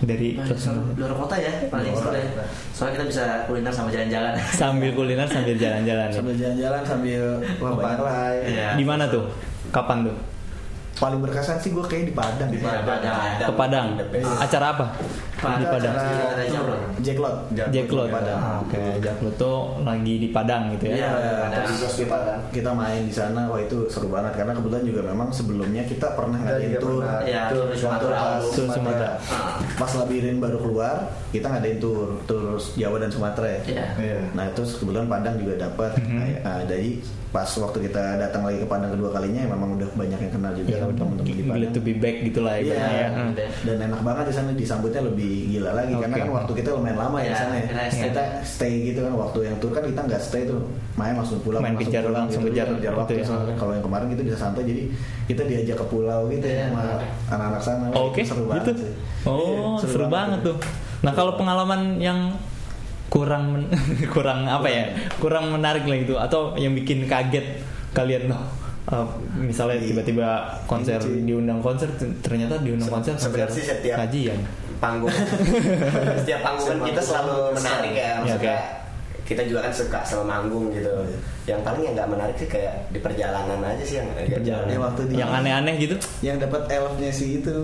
Speaker 3: Dari
Speaker 5: Nah, selalu luar kota ya paling seru
Speaker 6: Luar
Speaker 5: ya
Speaker 6: kota.
Speaker 5: soalnya kita bisa kuliner sama jalan-jalan
Speaker 3: sambil kuliner sambil jalan-jalan nih.
Speaker 6: Sambil jalan-jalan sambil wah banyak lah.
Speaker 5: Iya.
Speaker 3: Di mana tuh? Kapan tuh?
Speaker 6: Paling berkesan sih gue kayak di Padang. Di
Speaker 5: Padang.
Speaker 3: Ke Padang. Acara apa? Di Padang.
Speaker 5: Jalan-jalan aja, bro.
Speaker 6: Jacklot.
Speaker 3: Jacklot.
Speaker 6: Padang.
Speaker 3: Oke, Jacklot tuh lagi di Padang gitu
Speaker 5: Iya.
Speaker 3: ya.
Speaker 5: Padang.
Speaker 6: Terus kita kita main di sana wah itu seru banget karena kebetulan juga memang sebelumnya kita pernah
Speaker 4: Kita
Speaker 6: ngadain
Speaker 4: juga
Speaker 6: tour
Speaker 4: pernah.
Speaker 5: Iya,
Speaker 6: tour
Speaker 5: tour
Speaker 6: Sumatera
Speaker 5: Sumatera.
Speaker 6: pas-
Speaker 3: Tour Sumatera.
Speaker 5: Ah.
Speaker 6: pas labirin baru keluar kita ngadain tour tour Jawa dan Sumatera ya
Speaker 5: Iya.
Speaker 4: Iya.
Speaker 6: Nah terus kebetulan Padang juga dapat.
Speaker 3: Mhm.
Speaker 6: Nah, ya, ah, dari pas waktu kita datang lagi ke Padang kedua kalinya ya memang udah banyak yang kenal juga
Speaker 3: Ya,
Speaker 6: sama teman-teman di
Speaker 3: Gila
Speaker 6: Padang.
Speaker 3: to be back gitu lah
Speaker 6: Iya.
Speaker 3: ibaratnya ya. Hmm.
Speaker 5: Iya.
Speaker 6: Dan enak banget di sana disambutnya lebih gila lagi karena
Speaker 3: Oke.
Speaker 6: kan waktu kita lumayan lama ya di
Speaker 5: Iya,
Speaker 6: sana ya.
Speaker 5: kita stay.
Speaker 6: Kita stay gitu kan waktu yang tur kan kita nggak stay tuh main langsung pulang
Speaker 3: Main
Speaker 6: langsung
Speaker 3: kejar,
Speaker 6: pulang
Speaker 3: langsung
Speaker 6: gitu.
Speaker 3: kejar gitu
Speaker 6: waktu
Speaker 3: ya.
Speaker 6: soalnya. kalau yang kemarin kita bisa santai jadi kita diajak ke pulau gitu ya sama anak-anak sana Wah,
Speaker 3: Oke,
Speaker 6: itu Nah, seru banget
Speaker 3: gitu.
Speaker 6: sih. Iya,
Speaker 3: Oh, seru, banget tuh. Nah,
Speaker 6: Seru
Speaker 3: kalau
Speaker 6: banget.
Speaker 3: pengalaman yang kurang men- kurang apa ya? Kurang menarik lah itu atau yang bikin kaget kalian loh. Eh, misalnya
Speaker 6: Iya.
Speaker 3: tiba-tiba konser
Speaker 6: Iya, cuy.
Speaker 3: diundang konser ternyata diundang konser konser
Speaker 8: sebenarnya sih setiap-
Speaker 3: kajian.
Speaker 8: panggung setiap panggungan kita selalu menarik ya maksudnya kita juga kan suka sama manggung gitu yang paling yang nggak menarik sih kayak di perjalanan aja sih yang Iya.
Speaker 3: Perjalanan.
Speaker 6: Ya, waktu di-
Speaker 3: yang aneh-aneh gitu.
Speaker 6: yang dapat elfnya si itu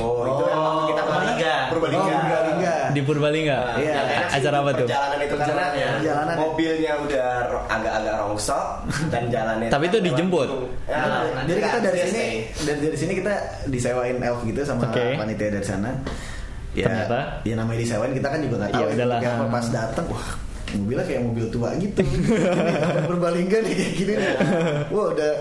Speaker 8: oh itu yang waktu kita
Speaker 5: Purbalingga.
Speaker 8: Purbalingga.
Speaker 6: Oh, Purbalingga.
Speaker 3: Di Purbalingga.
Speaker 8: Iya,
Speaker 6: Iya.
Speaker 8: enak sih
Speaker 3: Acara
Speaker 8: itu
Speaker 3: apa tuh?
Speaker 8: Perjalanan itu karena
Speaker 5: Perjalanan ya.
Speaker 6: Perjalanan ya.
Speaker 8: mobilnya udah ro- agak-agak rongsok dan jalannya.
Speaker 3: Tapi itu
Speaker 8: lewat
Speaker 3: dijemput.
Speaker 8: gunung. Ya,
Speaker 6: Jadi
Speaker 8: nanti
Speaker 6: jadi kita
Speaker 8: kan
Speaker 6: dari
Speaker 8: dia
Speaker 6: sini
Speaker 8: stay.
Speaker 6: dari, dari sini kita disewain elf gitu sama
Speaker 3: Oke.
Speaker 6: panitia dari sana. Ya,
Speaker 3: Ternyata?
Speaker 6: ya namanya disewain kita kan juga nggak tahu.
Speaker 3: Iya,
Speaker 6: ya,
Speaker 3: udahlah.
Speaker 6: kayak apa. pas datang wah mobilnya kayak mobil tua gitu. Ini Berbalingga nih kayak gini nih. Wah udah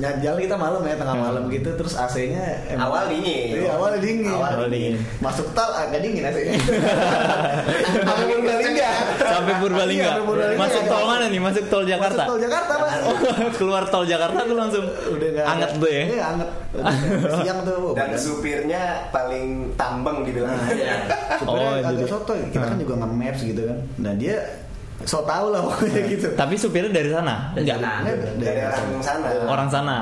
Speaker 6: nyajal kita malam ya tengah malam
Speaker 3: Hmm.
Speaker 6: gitu terus AC-nya emang-
Speaker 8: Awal dingin.
Speaker 6: Iya, awal dingin.
Speaker 8: Awal
Speaker 3: dingin.
Speaker 6: Masuk tol agak dingin AC-nya. Sampai Purbalingga.
Speaker 3: Sampai
Speaker 6: Iya,
Speaker 3: Purbalingga.
Speaker 6: sampai Purbalingga.
Speaker 3: Masuk tol mana nih? Masuk tol Jakarta.
Speaker 6: Masuk tol Jakarta, Mas.
Speaker 3: Keluar tol Jakarta tuh langsung
Speaker 6: Udah nggak ada-
Speaker 3: anget tuh ya.
Speaker 6: Iya, anget. Udah Siang tuh. wah,
Speaker 8: Dan
Speaker 6: badan-
Speaker 8: supirnya paling tambeng dibilang.
Speaker 5: Iya.
Speaker 6: Supirnya
Speaker 3: Oh,
Speaker 6: Ah, agak
Speaker 3: jadi- Ah.
Speaker 6: sotoy. Kita kan juga nge-maps gitu kan. Nah, dia so tau lah
Speaker 3: Ah.
Speaker 6: pokoknya gitu.
Speaker 3: Tapi supirnya dari sana?
Speaker 5: Dari sana.
Speaker 6: Nah,
Speaker 8: Dari
Speaker 6: daerah
Speaker 8: orang sana.
Speaker 3: Orang sana.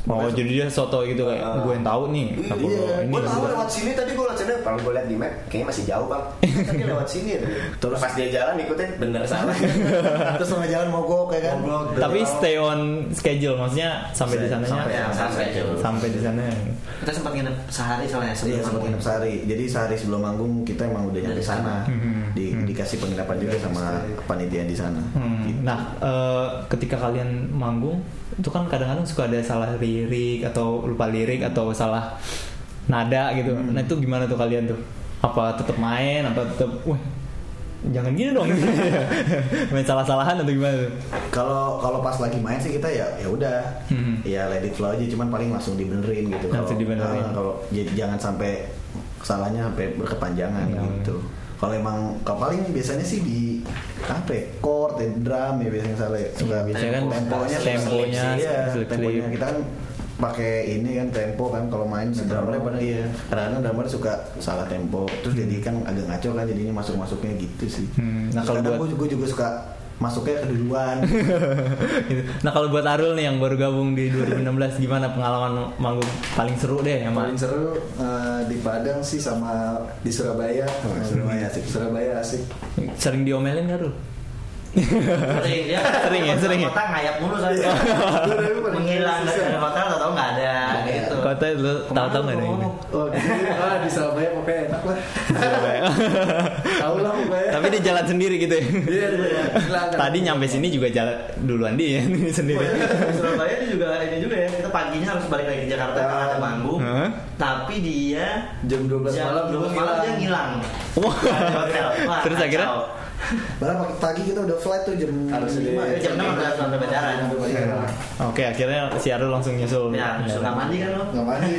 Speaker 8: Nah.
Speaker 3: Oh, jadi dia soto gitu kayak
Speaker 8: Ah.
Speaker 3: gue yang tahu nih. apa
Speaker 6: Iya,
Speaker 3: ini
Speaker 8: Gue tahu
Speaker 3: gitu.
Speaker 8: lewat sini tadi gue lewat sini. Kalau gue lihat di map, kayaknya masih jauh bang. Tapi lewat sini. Terus pas dia jalan ikutin bener salah.
Speaker 6: Terus sama jalan mogok ya kan.
Speaker 4: Mogok.
Speaker 3: Tapi stay on schedule maksudnya sampai di sananya
Speaker 6: Sampai,
Speaker 5: ya, sampai.
Speaker 3: sampai di sana.
Speaker 5: kita sempat nginep sehari soalnya
Speaker 6: Iya
Speaker 5: sebelum
Speaker 6: sempat
Speaker 5: manggung.
Speaker 6: nginep sehari. Jadi sehari sebelum manggung kita emang udah nyampe sana. Di, dikasih penginapan juga sama panitia di sana. Gitu.
Speaker 3: Hmm, Nah, eh, ketika kalian manggung itu kan kadang-kadang suka ada salah lirik atau lupa lirik atau salah nada gitu. Nah, itu gimana tuh kalian tuh? Apa tetap main apa tetap wah jangan gini dong. main salah-salahan atau gimana tuh?
Speaker 6: Kalau kalau pas lagi main sih kita ya ya udah
Speaker 3: Hmm.
Speaker 6: ya let it flow aja cuman paling langsung dibenerin gitu
Speaker 3: Langsung
Speaker 6: Kalau-
Speaker 3: dibenerin.
Speaker 6: ah, kalau j- jangan sampai salahnya sampai berkepanjangan
Speaker 3: Hmm.
Speaker 6: gitu kalau emang kalau paling biasanya sih di apa ya, chord ya, drum ya biasanya salah ya suka
Speaker 3: biasanya kan
Speaker 6: temponya
Speaker 3: temponya,
Speaker 6: iya,
Speaker 3: slip-slip.
Speaker 6: temponya kita kan pakai ini kan tempo kan kalau main si drummer pada iya kadang-kadang drummer suka salah tempo terus jadi kan agak ngaco kan jadinya masuk masuknya gitu sih
Speaker 3: Hmm, nah,
Speaker 6: nah
Speaker 3: kalau
Speaker 6: kalau
Speaker 3: buat-
Speaker 6: gue juga suka masuknya keduluan
Speaker 3: Gitu. Nah kalau buat Arul nih yang baru gabung di 2016 gimana pengalaman manggung paling seru deh yang
Speaker 4: paling seru eh, di Padang sih sama di Surabaya.
Speaker 6: Surabaya asik.
Speaker 4: Surabaya asik.
Speaker 3: sering diomelin gak Arul?
Speaker 5: sering ya
Speaker 3: Sering ya, sering ya? Iya.
Speaker 5: kota ngayap mulu soalnya menghilang dari hotel atau nggak ada
Speaker 3: iya.
Speaker 5: gitu
Speaker 3: Kota ya, lu tahu-tahu nggak ada yang ini?
Speaker 4: Oh, di,
Speaker 6: gitu.
Speaker 4: ah, di Surabaya pokoknya enak lah. Tahu lah pokoknya.
Speaker 3: Tapi dia jalan sendiri gitu ya.
Speaker 4: Iya, iya. Gila, kan?
Speaker 3: Tadi nyampe sini juga jalan duluan dia ini sendiri.
Speaker 5: Di Surabaya dia juga ini juga ya kita paginya harus balik lagi ke Jakarta karena ada manggung
Speaker 3: Hah?
Speaker 5: tapi dia
Speaker 4: Jam 12 malam
Speaker 5: jam 12 malam dia ngilang
Speaker 3: Wah.
Speaker 5: Dari hotel. Wah,
Speaker 3: Terus akhirnya?
Speaker 5: kacau.
Speaker 6: Padahal pagi kita udah flight tuh jam
Speaker 4: Harus
Speaker 6: lima
Speaker 4: di-
Speaker 6: ya.
Speaker 5: jam 6 udah sampai bandara
Speaker 4: Iya.
Speaker 3: Oke akhirnya si Arul langsung nyusul. Iya.
Speaker 5: ya suka mandi kan lo
Speaker 6: Nggak mandi.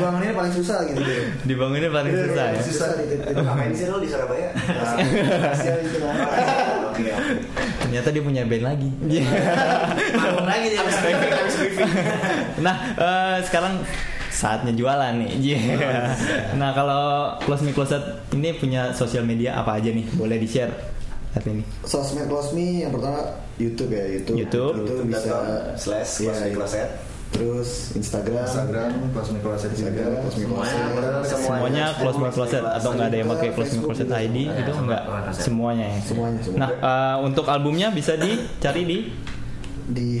Speaker 6: Ruangan ini paling susah gitu deh.
Speaker 3: Dibangunnya paling
Speaker 6: Iya,
Speaker 3: susah ya.
Speaker 6: Susah di titik.
Speaker 8: Ngapain sih lo di Surabaya?
Speaker 6: Kasihan Nah, itu.
Speaker 4: Iya.
Speaker 8: Oke, oke.
Speaker 3: ternyata dia punya band lagi
Speaker 5: Manggung lagi dia.
Speaker 9: Abis briefing, abis briefing.
Speaker 3: nah eh, sekarang saatnya jualan nih Iya. nah kalau close me closet ini punya sosial media apa aja nih boleh di share saat ini
Speaker 6: Sosmed Close Me yang pertama YouTube ya YouTube.
Speaker 3: YouTube.
Speaker 6: Itu bisa
Speaker 9: YouTube.com slash Close
Speaker 6: Iya,
Speaker 9: Me Closet.
Speaker 6: Terus Instagram.
Speaker 4: Instagram Close Me Closet juga
Speaker 6: Instagram, Close Me Closet.
Speaker 3: semuanya close me closet atau nggak ada yang pakai close me closet ID gitu nggak semuanya ya
Speaker 6: Semuanya, semuanya.
Speaker 3: nah eh, untuk albumnya bisa dicari di
Speaker 6: Di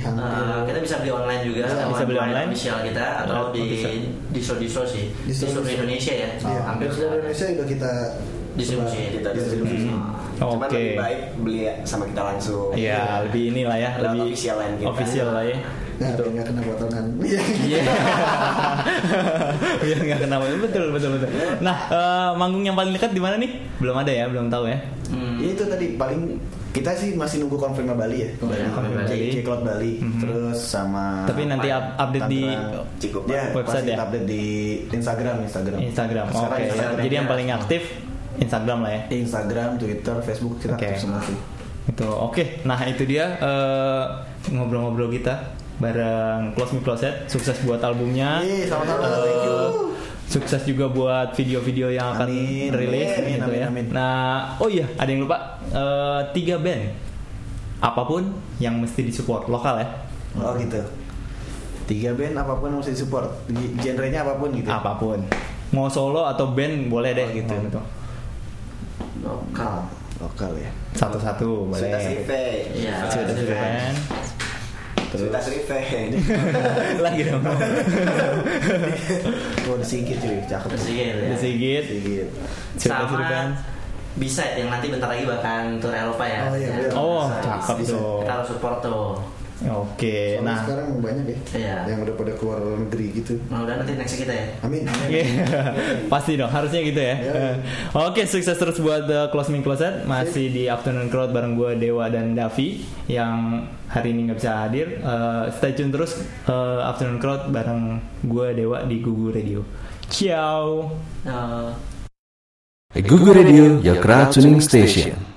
Speaker 5: Eh,
Speaker 6: hampir
Speaker 5: kita bisa beli online juga
Speaker 3: Bisa,
Speaker 5: lewat
Speaker 3: bisa beli
Speaker 5: brand
Speaker 3: online.
Speaker 5: official kita atau
Speaker 3: Lewat
Speaker 5: di
Speaker 3: official.
Speaker 5: distro distro sih
Speaker 6: Distro-
Speaker 5: distro Indonesia ya
Speaker 6: Iya, hampir seluruh Indonesia juga kita
Speaker 5: distribusi
Speaker 3: Iya,
Speaker 6: sebar.
Speaker 9: Kita distribusi.
Speaker 5: Iya,
Speaker 9: Cuman
Speaker 3: Oke.
Speaker 9: lebih baik beli sama kita langsung.
Speaker 3: ya lebih inilah ya
Speaker 9: Lewat
Speaker 3: lebih
Speaker 9: official line kita.
Speaker 3: official lah ya
Speaker 6: Nah, biar nggak kena potongan. Iya.
Speaker 3: Iya. Biar nggak kenapa. Betul, betul, betul. Nah, eh, manggung yang paling dekat di mana nih? Belum ada ya, belum tahu ya.
Speaker 5: Hmm.
Speaker 6: Ya, itu tadi paling kita sih masih nunggu konfirmnya Bali ya.
Speaker 5: Konfirm Bali.
Speaker 6: Cek Cloud Bali.
Speaker 3: Mhm.
Speaker 6: Terus sama
Speaker 3: Tapi nanti up- update di
Speaker 6: Tangerang.
Speaker 9: Cikupa.
Speaker 6: Ya,
Speaker 3: Website
Speaker 6: pasti
Speaker 3: ya?
Speaker 6: update di Instagram, Instagram.
Speaker 3: Instagram. Oke. ya.
Speaker 6: Sekarang Instagram. ya.
Speaker 3: Jadi yang paling aktif Instagram lah ya.
Speaker 6: Instagram, Twitter, Facebook kita
Speaker 3: Oke.
Speaker 6: aktif semua sih.
Speaker 3: Itu. Oke. Nah, itu dia eh, ngobrol-ngobrol kita bareng Close Me Closet. Sukses buat albumnya.
Speaker 6: Yeay,
Speaker 3: Eh,
Speaker 6: sama-sama. Thank you.
Speaker 3: Sukses juga buat video-video yang akan
Speaker 6: Amin.
Speaker 3: rilis gitu
Speaker 6: Amin, amin,
Speaker 3: ya.
Speaker 6: amin.
Speaker 3: Nah, oh iya, ada yang lupa Eh, tiga band apapun yang mesti disupport lokal ya.
Speaker 6: Oh gitu. Tiga band apapun yang mesti support, genrenya apapun gitu.
Speaker 3: apapun mau solo atau band boleh
Speaker 6: Oh,
Speaker 3: deh gitu gitu
Speaker 5: lokal
Speaker 6: Lokal ya.
Speaker 3: satu-satu boleh
Speaker 9: Sudah Rive.
Speaker 5: Iya.
Speaker 3: Sudah
Speaker 5: Sudah
Speaker 3: band.
Speaker 9: Sudah Rive.
Speaker 3: lagi dong
Speaker 6: Tuh ada Oh, Sigit cuy, cakep.
Speaker 5: Sigit, ya.
Speaker 3: The Sigit
Speaker 6: Sigit.
Speaker 3: Sudah
Speaker 5: sama
Speaker 3: Band.
Speaker 5: bisa yang nanti bentar lagi bahkan tour Eropa ya
Speaker 6: Oh, iya, iya.
Speaker 3: oh
Speaker 5: Bisa.
Speaker 3: cakep
Speaker 6: bisa.
Speaker 3: tuh
Speaker 5: kita harus support tuh
Speaker 3: oke
Speaker 6: Soalnya
Speaker 3: nah
Speaker 6: sekarang banyak ya
Speaker 5: Iya.
Speaker 6: yang udah pada keluar negeri gitu.
Speaker 5: mudah-mudahan nanti next kita ya
Speaker 6: Amin.
Speaker 3: Oke. Iya. pasti dong harusnya gitu ya
Speaker 6: Ya.
Speaker 3: oke sukses terus buat The Closing Closet masih di Afternoon Crowd bareng gue Dewa dan Davi yang hari ini nggak bisa hadir Eh, stay tune terus eh, Afternoon Crowd bareng gue Dewa di Gugu Radio ciao
Speaker 5: Eh,
Speaker 10: Google Radio, your crowd tuning station.